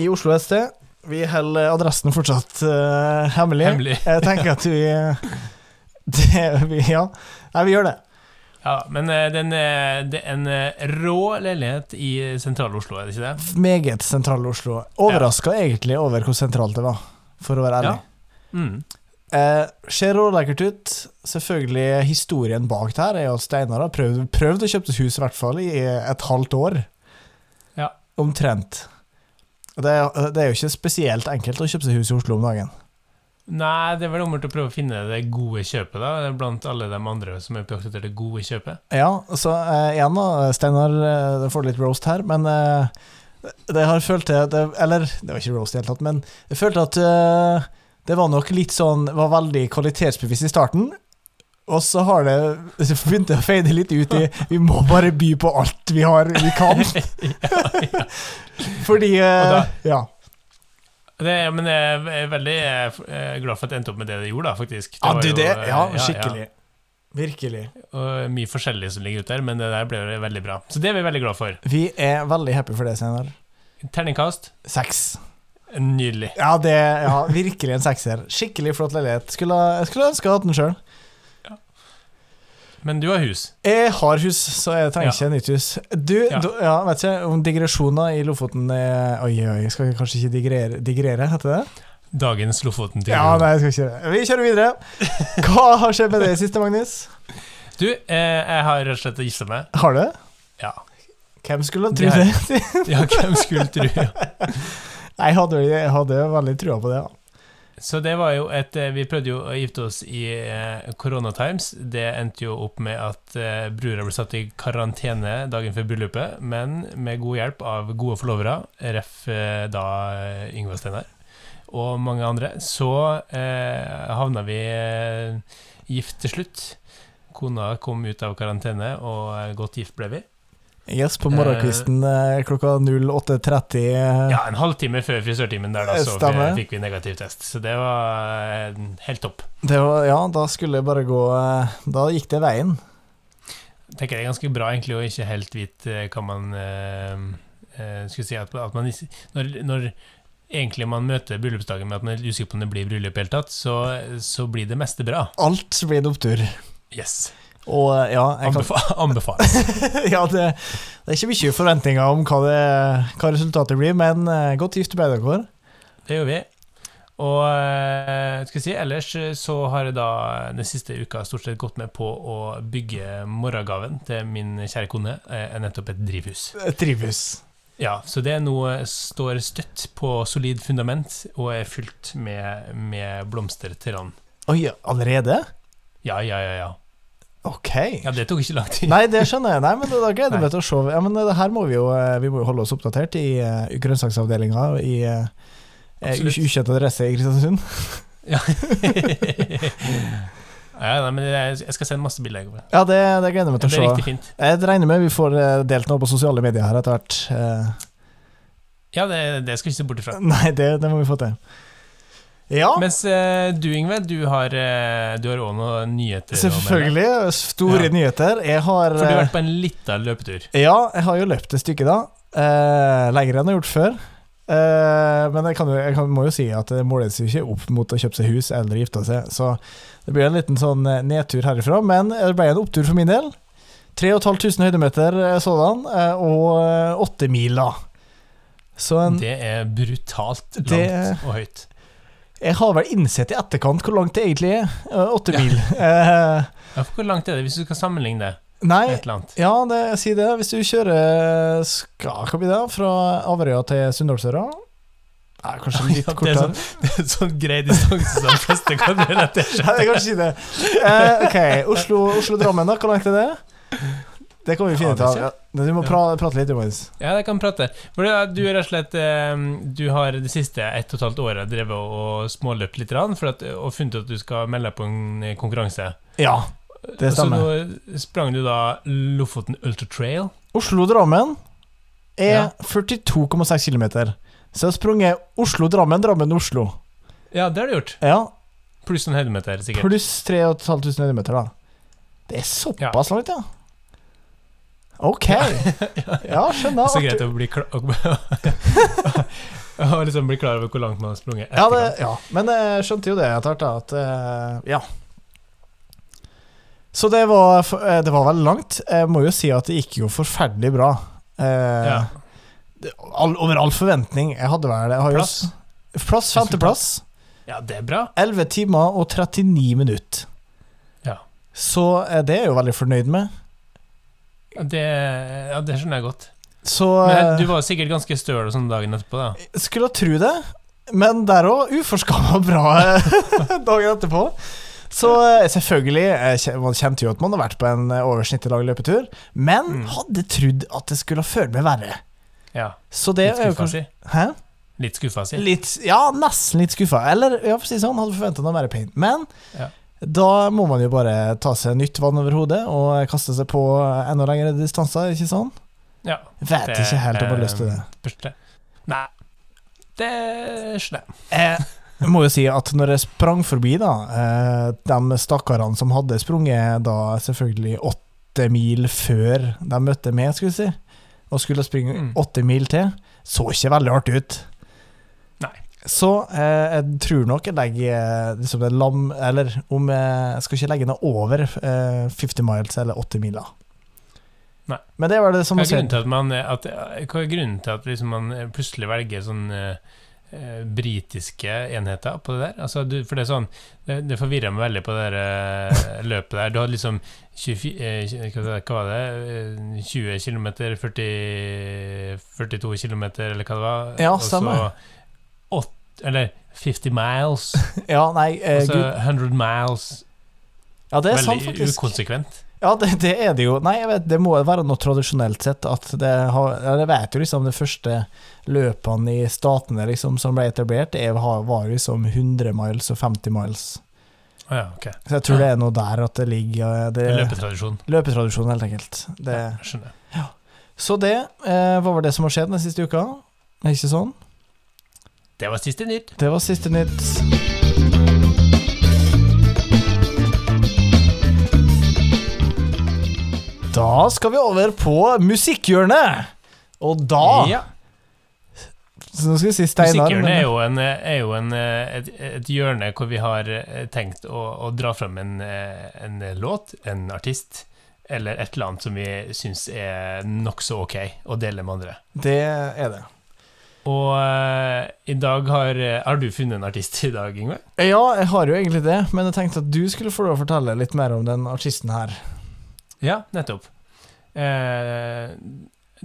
Speaker 1: i Oslo et sted. Vi holder adressen fortsatt eh, hemmelig.
Speaker 3: Hemmelig.
Speaker 1: Jeg tenker at vi, eh, [laughs] det, vi Ja, Nei, vi gjør det.
Speaker 3: Ja, men eh, den, eh, det er en eh, rå leilighet i sentrale Oslo, er det ikke det?
Speaker 1: Meget sentral Oslo. Overraska egentlig over hvor sentralt det var, for å være ærlig.
Speaker 3: Ja. Mm.
Speaker 1: Eh, ser rålekkert ut. Selvfølgelig Historien bak det her er jo at Steinar har prøvd, prøvd å kjøpe et hus i hvert fall i et halvt år.
Speaker 3: Ja.
Speaker 1: Omtrent. Og Det er, det er jo ikke spesielt enkelt å kjøpe seg hus i Oslo om dagen.
Speaker 3: Nei, det er vel omvendt å prøve å finne det gode kjøpet, da, blant alle de andre som er på jakt etter det gode kjøpet.
Speaker 1: Ja, så eh, igjen da, Steinar, eh, det får litt roast her, men eh, det har følt til at det, Eller, det var ikke roast i det hele tatt, men jeg følte at eh, det var nok litt sånn Var veldig kvalitetsbevisst i starten. Og så har det så begynte det å fade litt ut i Vi må bare by på alt vi har vi kan.
Speaker 3: [laughs]
Speaker 1: Fordi eh,
Speaker 3: Og da-
Speaker 1: Ja.
Speaker 3: Det, er- men jeg er veldig eh, f- eh, glad for at det endte opp med det det gjorde, da, faktisk.
Speaker 1: Ja,
Speaker 3: var
Speaker 1: du,
Speaker 3: jo,
Speaker 1: det,
Speaker 3: eh,
Speaker 1: ja, skikkelig. Virkelig.
Speaker 3: Ja, og mye forskjellig som ligger ute der, men det der ble jo veldig bra. Så det er vi veldig glad for.
Speaker 1: Vi er veldig happy for det, Steinar.
Speaker 3: Terningkast,
Speaker 1: Seks.
Speaker 3: nydelig.
Speaker 1: Ja, det, ja, virkelig en sekser. Skikkelig flott leilighet. Skulle, jeg skulle ønske jeg hadde den sjøl.
Speaker 3: Men du har hus.
Speaker 1: Jeg har hus, så jeg trenger
Speaker 3: Ja.
Speaker 1: ikke nytt hus. Du,
Speaker 3: Ja.
Speaker 1: ja. Du, ja, vet ikke om digresjoner i Lofoten er Oi, oi, jeg skal kanskje ikke digrere, digrere heter det?
Speaker 3: Dagens Lofoten til
Speaker 1: Ja, nei, jeg skal ikke det. Vi kjører videre. Hva har skjedd med det siste, Magnus?
Speaker 3: Du, eh, jeg har rett og slett gifta meg.
Speaker 1: Har du?
Speaker 3: Ja.
Speaker 1: Hvem skulle
Speaker 3: Det
Speaker 1: tro
Speaker 3: er-
Speaker 1: det?
Speaker 3: ja, hvem skulle tro? Ja.
Speaker 1: Nei, jeg hadde, jeg hadde veldig trua på det. Ja.
Speaker 3: Så det var jo et eh, Vi prøvde jo å gifte oss i eh, Corona Times. Det endte jo opp med at eh, brura ble satt i karantene dagen før bryllupet, men med god hjelp av gode forlovere, ref. Eh, da eh, Yngve og Steinar, og mange andre, så eh, havna vi eh, gift til slutt. Kona kom ut av karantene, og eh, godt gift ble vi.
Speaker 1: Yes, på morgenkvisten eh, klokka 08.30. eh,
Speaker 3: Ja, En halvtime før frisørtimen der, da, så
Speaker 1: Stemmer.
Speaker 3: fikk vi negativ test. Så det var eh, helt topp.
Speaker 1: Det var, ja, da skulle jeg bare gå eh, Da gikk det veien.
Speaker 3: tenker det er ganske bra egentlig å ikke helt vite eh, hva man eh, eh, skulle si at, at man, is- når, når egentlig man møter bryllupsdagen med at man er litt usikker på om det blir bryllup i det hele tatt, så, så blir det meste bra.
Speaker 1: Alt blir en opptur.
Speaker 3: Yes.
Speaker 1: Og eh, ja, jeg kan
Speaker 3: Anbefa [laughs] anbefales.
Speaker 1: [laughs] ja, det, det er ikke mye forventninger om hva, det, hva resultatet blir, men eh, godt gift ble dere.
Speaker 3: Det gjør vi. Og eh, skal jeg si, ellers så har jeg da den siste uka stort sett gått med på å bygge morgengaven til min kjære kone, eh, nettopp et drivhus.
Speaker 1: Trives.
Speaker 3: Ja, så det nå står støtt på solid fundament og er fylt med, med blomster til rand.
Speaker 1: Oi, allerede?
Speaker 3: Ja, ja, ja, ja.
Speaker 1: Ok.
Speaker 3: Ja, det tok ikke lang tid.
Speaker 1: Nei, det skjønner jeg. Nei, men Da gleder
Speaker 3: Nei.
Speaker 1: jeg meg til å se. Ja, men det her må vi, jo, eh, vi må jo holde oss oppdatert i eh, grønnsaksavdelinga i eh, eh,
Speaker 3: Absolutt.
Speaker 1: ukjent adresse i Kristiansund.
Speaker 3: Ja. [laughs] ja, nei, men jeg jeg skal sende masse bilder. Jeg,
Speaker 1: Ja, det, det gleder jeg meg
Speaker 3: det
Speaker 1: til
Speaker 3: blir
Speaker 1: å se.
Speaker 3: riktig fint.
Speaker 1: Jeg regner med vi får eh, delt noe på sosiale medier her etter hvert. eh.
Speaker 3: Ja, det, det skal vi ikke se bort ifra.
Speaker 1: [laughs] Nei, det, det må vi få til. Ja,
Speaker 3: Mens eh, du, Yngve, du har eh, Du har òg noen nyheter. å melde.
Speaker 1: selvfølgelig. Store
Speaker 3: Ja.
Speaker 1: nyheter. Jeg har
Speaker 3: For du har
Speaker 1: eh,
Speaker 3: vært på en lita løpetur.
Speaker 1: Ja, jeg har jo løpt et stykke da. Eh, lenger enn jeg har gjort før. Eh, men jeg, kan jo, jeg kan, må jo si at det måles jo ikke opp mot å kjøpe seg hus eller gifte seg, så det blir en liten sånn eh, nedtur herifra. Men det ble en opptur for min del. 3500 høydemeter eh, sådan, eh, og åtte mil, da. Så en
Speaker 3: Det er brutalt langt
Speaker 1: Det-
Speaker 3: og høyt.
Speaker 1: Jeg har vel innsett i etterkant hvor langt det egentlig er. Eh, Åtte mil. Eh,
Speaker 3: Ja, for hvor langt er det, hvis du skal sammenligne det
Speaker 1: nei,
Speaker 3: med et eller annet?
Speaker 1: ja, det, jeg sier det. Hvis du kjører skal, Hva blir det? Fra Averøya til Sunndalsøra? Nei, kanskje litt
Speaker 3: Ja, det er
Speaker 1: kortere.
Speaker 3: sånn, det er sånn grei distanse som de fleste kan relatere
Speaker 1: Ja, jeg kan ikke si det. Eh, ok, Oslo- Oslo-Drammen, da. Hvor langt er det? Det kan vi finne ut av. Ja, Du må pra prate litt imens.
Speaker 3: Ja, det kan prate. For det er- du er rett og slett eh, Du har det siste ett og et halvt året drevet og småløpt litt rann, for at, og funnet ut at du skal melde deg på en eh, konkurranse.
Speaker 1: Ja, det stemmer.
Speaker 3: Så nå sprang du da Lofoten Ultra Trail.
Speaker 1: Oslo-Drammen
Speaker 3: Ja.
Speaker 1: er 42,6 km. Så jeg har sprunget Oslo-Drammen, Drammen-Oslo.
Speaker 3: Ja, det har du gjort.
Speaker 1: Ja,
Speaker 3: Pluss noen høydemeter, sikkert.
Speaker 1: Pluss 3500 høydemeter, da. Det er såpass langt, ja.
Speaker 3: [laughs]
Speaker 1: Ok. Ja, skjønner.
Speaker 3: Så
Speaker 1: Artig.
Speaker 3: greit å bli [laughs] klar og, og liksom bli klar over hvor langt man har sprunget.
Speaker 1: Ja, det,
Speaker 3: etterkant.
Speaker 1: ja, men jeg skjønte jo det etter hvert, da. At, eh, ja. Så det var, f- eh, det var veldig langt. Jeg må jo si at det gikk jo forferdelig bra. Eh,
Speaker 3: Ja.
Speaker 1: det- all, over all forventning. Jeg hadde vel jeg har jo
Speaker 3: Plass?
Speaker 1: s- Plass, femteplass.
Speaker 3: ja, det er bra.
Speaker 1: 11 timer og 39 minutter.
Speaker 3: Ja.
Speaker 1: Så eh, det er jeg jo veldig fornøyd med.
Speaker 3: Ja, Det, ja, det skjønner jeg godt.
Speaker 1: Så
Speaker 3: Men
Speaker 1: eh,
Speaker 3: du var sikkert ganske støl og sånn dagen etterpå, da.
Speaker 1: Skulle tro det, men der òg uforskamma [laughs] bra eh, [laughs] dagen etterpå. Så eh, selvfølgelig, eh, kje- man kjente jo at man hadde vært på en eh, over snittet lang løpetur, men
Speaker 3: Mm.
Speaker 1: hadde trodd at det skulle føle meg verre.
Speaker 3: Ja,
Speaker 1: Så det
Speaker 3: litt
Speaker 1: er jo
Speaker 3: skuffa,
Speaker 1: kanskje
Speaker 3: si.
Speaker 1: Hæ?
Speaker 3: Litt skuffa, si.
Speaker 1: Litt, ja, nesten litt skuffa. Eller ja, for å si det sånn, hadde forventa noe mer pain. Men
Speaker 3: Ja.
Speaker 1: da må man jo bare ta seg nytt vann over hodet og kaste seg på eh, enda lengre distanser, ikke sånn?
Speaker 3: Ja,
Speaker 1: Vet
Speaker 3: Det-
Speaker 1: ikke helt om jeg har lyst til det.
Speaker 3: første. Nei, det skjønner jeg.
Speaker 1: Eh, Jeg må jo si at når jeg sprang forbi, da, eh, de stakkarene som hadde sprunget da selvfølgelig åtte mil før de møtte meg, skulle jeg si, og skulle springe
Speaker 3: Mm.
Speaker 1: åtte mil til, så ikke veldig artig ut.
Speaker 3: Nei.
Speaker 1: Så eh, jeg tror nok jeg legger eh, liksom det lam... Eller om jeg jeg skal ikke legge noe over eh, 50 miles eller 80 miler.
Speaker 3: Nei.
Speaker 1: Men det var det som
Speaker 3: Hva
Speaker 1: å
Speaker 3: er
Speaker 1: se
Speaker 3: grunnen til at man, at, hva er grunnen til at liksom man plutselig velger sånn eh, eh, britiske enheter på det der? Altså, du, for det er sånn Det, det forvirrer meg veldig på det der eh, løpet der. Du hadde liksom 24, eh, tjue- hva hva var det Eh, 20 km, 40, 42 km, eller hva det var.
Speaker 1: Ja,
Speaker 3: og så
Speaker 1: stemmer.
Speaker 3: åt- Eller 50 miles.
Speaker 1: Ja, nei, eh,
Speaker 3: Altså
Speaker 1: gud.
Speaker 3: 100 miles.
Speaker 1: Ja, det er sant,
Speaker 3: Veldig
Speaker 1: faktisk.
Speaker 3: ukonsekvent.
Speaker 1: Ja, det, det er det jo. Nei, jeg vet, det må jo være noe tradisjonelt sett at det har ja, Jeg vet jo liksom det første løpene i statene liksom, som ble etablert, det er- har- var liksom 100 miles og 50 miles.
Speaker 3: Å ja, ok.
Speaker 1: Så jeg tror det er noe der at det ligger eh, det,
Speaker 3: Løpetradisjon.
Speaker 1: Løpetradisjon, helt enkelt. Det,
Speaker 3: Skjønner. jeg.
Speaker 1: så det eh, var vel det som har skjedd den siste uka. Ikke sånn?
Speaker 3: Det var siste nytt.
Speaker 1: Det var siste nytt. Da skal vi over på musikkhjørnet. Og da
Speaker 3: Ja.
Speaker 1: Så nå skal vi si Steinar.
Speaker 3: Musikkhjørnet
Speaker 1: men-
Speaker 3: er jo, en, er jo en, et, et hjørne hvor vi har eh, tenkt å, å dra fram en, eh, en låt, en artist, eller et eller annet som vi syns er nokså ok å dele med andre.
Speaker 1: Det er det.
Speaker 3: Og eh, i dag har, har du funnet en artist i dag, Yngve?
Speaker 1: Ja, jeg har jo egentlig det, men jeg tenkte at du skulle få lov å fortelle litt mer om den artisten her. [laughs]
Speaker 3: Ja, nettopp. Eh,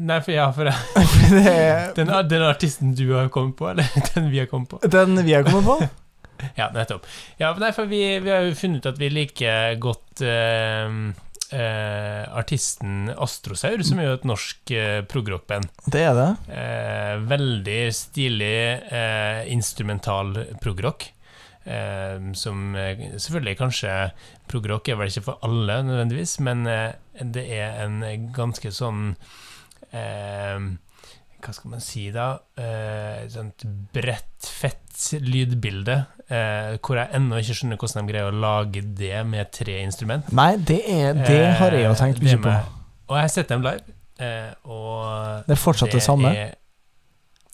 Speaker 3: nei, for ja, for [laughs]
Speaker 1: det er
Speaker 3: den, den artisten du har kommet på, eller [laughs] den vi har kommet på?
Speaker 1: den vi har kommet på.
Speaker 3: Ja, nettopp. Ja, nei, for vi, vi har jo funnet ut at vi liker godt eh, eh, artisten Astrosaur, som er jo et norsk eh, progrockband.
Speaker 1: Det er det.
Speaker 3: Eh, veldig stilig eh, instrumental progrock. Eh, som eh, selvfølgelig kanskje Progrock er vel ikke for alle, nødvendigvis, men eh, det er en ganske sånn eh, hva skal man si da, eh, et sånt bredt, fett lydbilde, eh, hvor jeg ennå ikke skjønner hvordan de greier å lage det med tre instrument.
Speaker 1: Nei, det, er, det har jeg jo tenkt
Speaker 3: Eh, det
Speaker 1: mye på.
Speaker 3: med- Og jeg har sett dem live, eh, og
Speaker 1: Det er fortsatt det samme.
Speaker 3: er-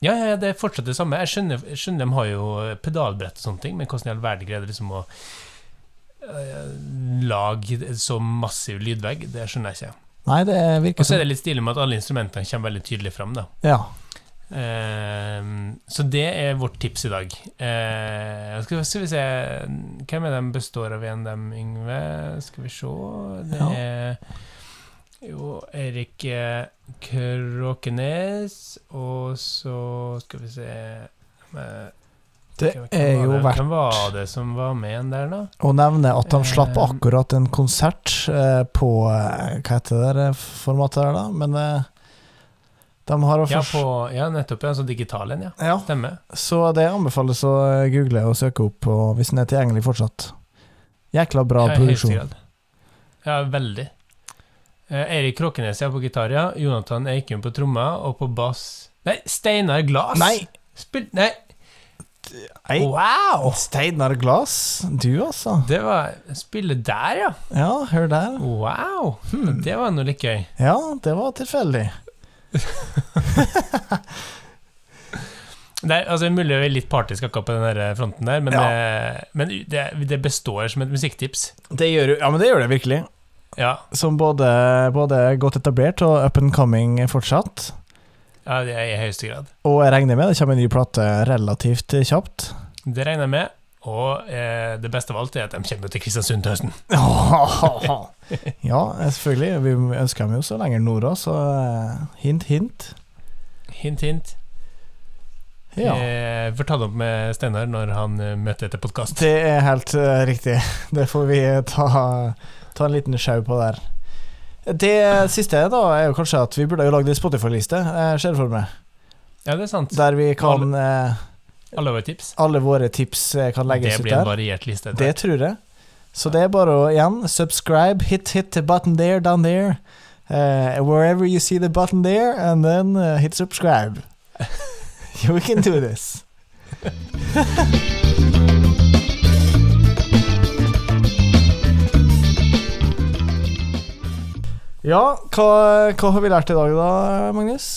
Speaker 3: ja, ja, ja, det er fortsatt det samme. Jeg skjønner, jeg skjønner de har jo pedalbrett og sånne ting, men hvordan i all verden greier de liksom å eh, lage en så massiv lydvegg? Det skjønner jeg ikke.
Speaker 1: Nei, det virker
Speaker 3: Og så
Speaker 1: som
Speaker 3: er det litt stilig med at alle instrumentene kommer veldig tydelig fram, da.
Speaker 1: Ja.
Speaker 3: Eh, så det er vårt tips i dag. Eh, skal, skal vi se Hvem er de består av igjen, dem, Yngve? Skal vi se Det
Speaker 1: Ja.
Speaker 3: er jo Erik eh, Kråkenes, og så skal vi se eh,
Speaker 1: Det
Speaker 3: hvem- hvem
Speaker 1: er
Speaker 3: var
Speaker 1: jo
Speaker 3: det- Hvem var
Speaker 1: verdt
Speaker 3: det som var med igjen der, da?
Speaker 1: å nevne at de slapp
Speaker 3: Eh,
Speaker 1: akkurat en konsert eh, på eh, Hva heter det der formatet der, da? Men eh, de har jo
Speaker 3: Ja,
Speaker 1: først
Speaker 3: på, ja nettopp. Ja, sånn digital en, ja.
Speaker 1: Ja,
Speaker 3: Stemmer.
Speaker 1: så det anbefales å eh, google og søke opp, og hvis den er tilgjengelig fortsatt. Jækla bra
Speaker 3: Ja, i høyeste
Speaker 1: produksjon.
Speaker 3: grad. Ja, veldig. Eh, Eirik Kråkenes er på gitar, ja. Jonathan Eikum på trommer, og på bass Nei, Steinar Glass!
Speaker 1: Nei!
Speaker 3: Spil Nei!
Speaker 1: Nei.
Speaker 3: Wow!
Speaker 1: Steinar Glass, du altså.
Speaker 3: Det var Spille der, ja.
Speaker 1: Ja, hør der.
Speaker 3: Wow! Hm,
Speaker 1: Hmm.
Speaker 3: Det var nå litt gøy.
Speaker 1: Ja, det var tilfeldig.
Speaker 3: Det er altså, mulig å være litt partisk akkurat på den der fronten der, men,
Speaker 1: Ja.
Speaker 3: eh, men det, det består som et musikktips.
Speaker 1: Det gjør jo Ja, men det gjør det virkelig.
Speaker 3: Ja,
Speaker 1: Som både, både er godt etablert og up and coming fortsatt.
Speaker 3: ja det er i høyeste grad.
Speaker 1: Og jeg regner med det kommer en ny plate relativt kjapt.
Speaker 3: Det regner jeg med. Og eh, det beste av alt er at de kommer til Kristiansund til høsten.
Speaker 1: ja, selvfølgelig. Vi ønsker dem jo så lenger nord òg, så eh, hint, hint.
Speaker 3: Hint, hint.
Speaker 1: Ja.
Speaker 3: Eh, får ta det opp med Steinar når han eh, møter etter podkast.
Speaker 1: Det er helt eh, riktig. Det får vi eh, ta, ta en liten sjau på der. Det siste da er jo kanskje at vi burde jo lagd ei Spotify-liste, eh, ser jeg for meg.
Speaker 3: Ja, det er sant.
Speaker 1: Der vi kan eh,
Speaker 3: Alle våre tips.
Speaker 1: Alle våre tips eh, kan
Speaker 3: Det
Speaker 1: legges ut
Speaker 3: blir en
Speaker 1: der.
Speaker 3: variert liste.
Speaker 1: Det
Speaker 3: etter.
Speaker 1: tror jeg. Så det er bare å igjen subscribe, hit hit the button there, down there. Eh, wherever you see the button there, and then eh, hit subscribe. [laughs] We can do this. [laughs] Ja, hva, hva har vi lært i dag da, Magnus?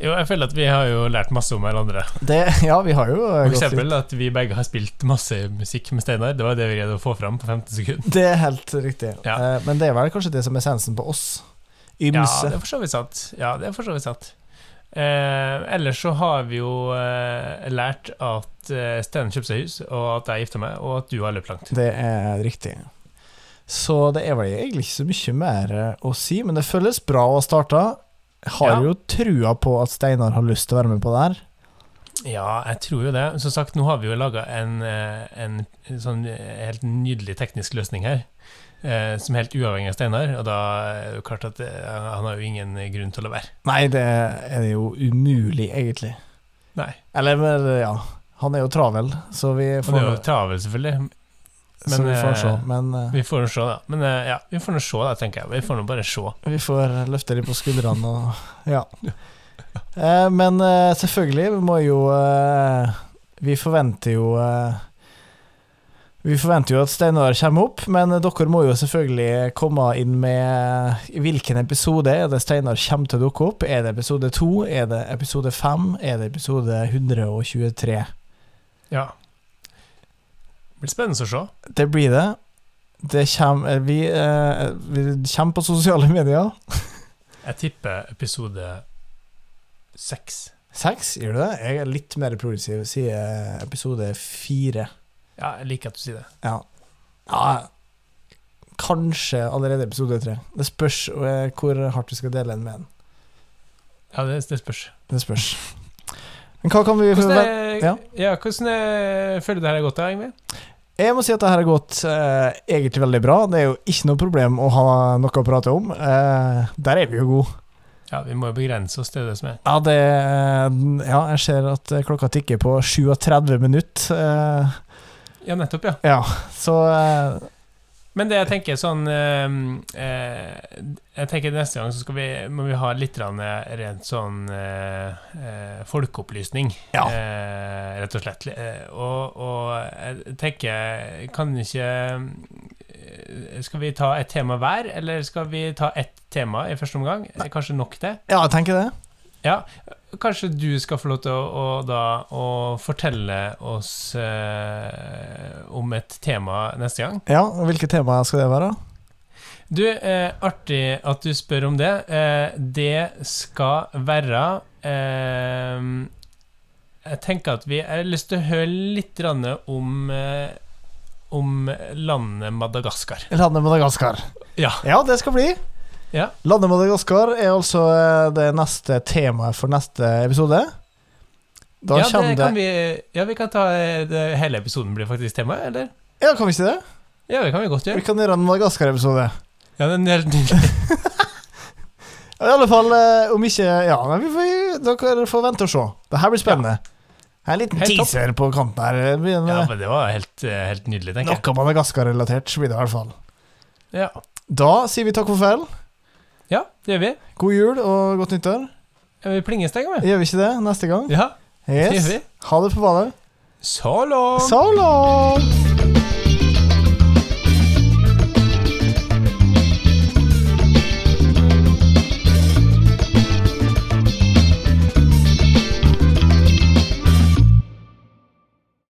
Speaker 3: Jo, jeg føler at vi har jo lært masse om hverandre.
Speaker 1: Det, ja, vi har jo eh,
Speaker 3: For
Speaker 1: gått litt-
Speaker 3: eksempel at vi begge har spilt masse musikk med Steinar. Det var det vi greide å få fram på 15 sekunder.
Speaker 1: Det er helt riktig.
Speaker 3: Ja.
Speaker 1: Eh, men det er vel kanskje det som er essensen på oss.
Speaker 3: Ja,
Speaker 1: Ymse.
Speaker 3: det er for så vidt sant. Ja, det er for så vidt sant. Eh, ellers så har vi jo eh, lært at eh, Steinar kjøpte seg hus, og at jeg gifta meg, og at du har løpt langt.
Speaker 1: Det er riktig. Så det er vel egentlig ikke så mye mer eh, å si, men det føles bra å ha starta. Har
Speaker 3: Ja.
Speaker 1: jo trua på at Steinar har lyst til å være med på det her.
Speaker 3: Ja, jeg tror jo det. Som sagt, nå har vi jo laga en, eh, en sånn helt nydelig teknisk løsning her. eh, Som er helt uavhengig av Steinar, og da er det jo klart at eh, han har jo ingen grunn til å la være.
Speaker 1: Nei, det er jo umulig, egentlig.
Speaker 3: Nei.
Speaker 1: Eller, men, ja. Han er jo travel, så vi
Speaker 3: Han
Speaker 1: får,
Speaker 3: er jo travel, selvfølgelig.
Speaker 1: så
Speaker 3: men,
Speaker 1: vi får
Speaker 3: eh,
Speaker 1: se. Men eh,
Speaker 3: Vi får nå se, da. Men eh, ja, vi får nå se, da, tenker jeg. Vi får nå bare se.
Speaker 1: Vi får løfte litt på skuldrene og Ja. Eh, men eh, selvfølgelig, vi må jo eh, Vi forventer jo eh, Vi forventer jo at Steinar kommer opp, men dere må jo selvfølgelig komme inn med hvilken episode er det Steinar kommer til å dukke opp. Er det episode 2? Er det episode 5? Er det episode 123?
Speaker 3: Ja. Det blir spennende å se.
Speaker 1: Det blir det. Det kommer eh, Vi, eh, vi kommer på sosiale medier.
Speaker 3: Jeg tipper episode seks.
Speaker 1: Seks, gjør du det? Jeg er litt mer progressiv, sier episode fire.
Speaker 3: Ja, jeg liker at du sier det.
Speaker 1: Ja. ja. Kanskje allerede episode tre. Det spørs eh, hvor hardt vi skal dele den med en.
Speaker 3: Ja, det, det spørs.
Speaker 1: Det spørs. Men hva kan vi
Speaker 3: Hvordan,
Speaker 1: forvente?
Speaker 3: er, ja.
Speaker 1: Ja.
Speaker 3: hvordan er, føler du det her er godt, da, Ingvild?
Speaker 1: Jeg må si at det her har gått eh, egentlig veldig bra. Det er jo ikke noe problem å ha noe å prate om. Eh, der er vi jo gode.
Speaker 3: Ja, vi må jo begrense oss til det som er.
Speaker 1: Ja, det, eh, ja, jeg ser at klokka tikker på 37 minutter. Eh,
Speaker 3: Ja, nettopp, ja.
Speaker 1: ja, så eh,
Speaker 3: Men det jeg tenker sånn eh, eh, Jeg tenker neste gang så skal vi, må vi ha litt grann, eh, rent sånn eh, eh, folkeopplysning.
Speaker 1: Ja.
Speaker 3: Eh, rett og slett. Eh, og, og jeg tenker Kan ikke eh, Skal vi ta et tema hver, eller skal vi ta ett tema i første omgang? Er Kanskje nok det?
Speaker 1: Ja, jeg tenker det.
Speaker 3: Kanskje du skal få lov til å, å, da, å fortelle oss eh, om et tema neste gang?
Speaker 1: Ja, og Hvilke temaer skal det være?
Speaker 3: Du, eh, artig at du spør om det. Eh, det skal være eh, Jeg tenker at vi Jeg har lyst til å høre litt grann om eh, om landet Madagaskar.
Speaker 1: Landet Madagaskar.
Speaker 3: Ja.
Speaker 1: Ja, det skal bli.
Speaker 3: Ja.
Speaker 1: Landet Madagaskar er altså eh, det neste temaet for neste episode. Da
Speaker 3: ja, det
Speaker 1: kommer det
Speaker 3: kan vi, ja, vi kan ta eh, det, hele episoden blir faktisk tema, eller?
Speaker 1: Ja, kan vi ikke det?
Speaker 3: Ja, det kan vi godt
Speaker 1: Vi
Speaker 3: gjøre.
Speaker 1: kan gjøre en Madagaskar-episode.
Speaker 3: Ja, den er helt nydelig.
Speaker 1: I alle fall, eh, om ikke Ja, men vi får, dere får vente og se. Det her blir spennende. Her er en liten
Speaker 3: Helt topp.
Speaker 1: teaser på kanten her. Det blir en,
Speaker 3: Ja,
Speaker 1: eh,
Speaker 3: men det var helt, eh, helt nydelig, tenker jeg.
Speaker 1: Noe Madagaskar-relatert blir det i hvert fall.
Speaker 3: Ja,
Speaker 1: Da sier vi takk for farvel.
Speaker 3: ja det gjør vi.
Speaker 1: God jul og godt nyttår.
Speaker 3: Ja, Vi plingestenger, vi.
Speaker 1: Gjør vi ikke det neste gang?
Speaker 3: Ja, det
Speaker 1: Yes.
Speaker 3: gjør vi.
Speaker 1: Ha det på badet.
Speaker 3: Så langt!
Speaker 1: So long!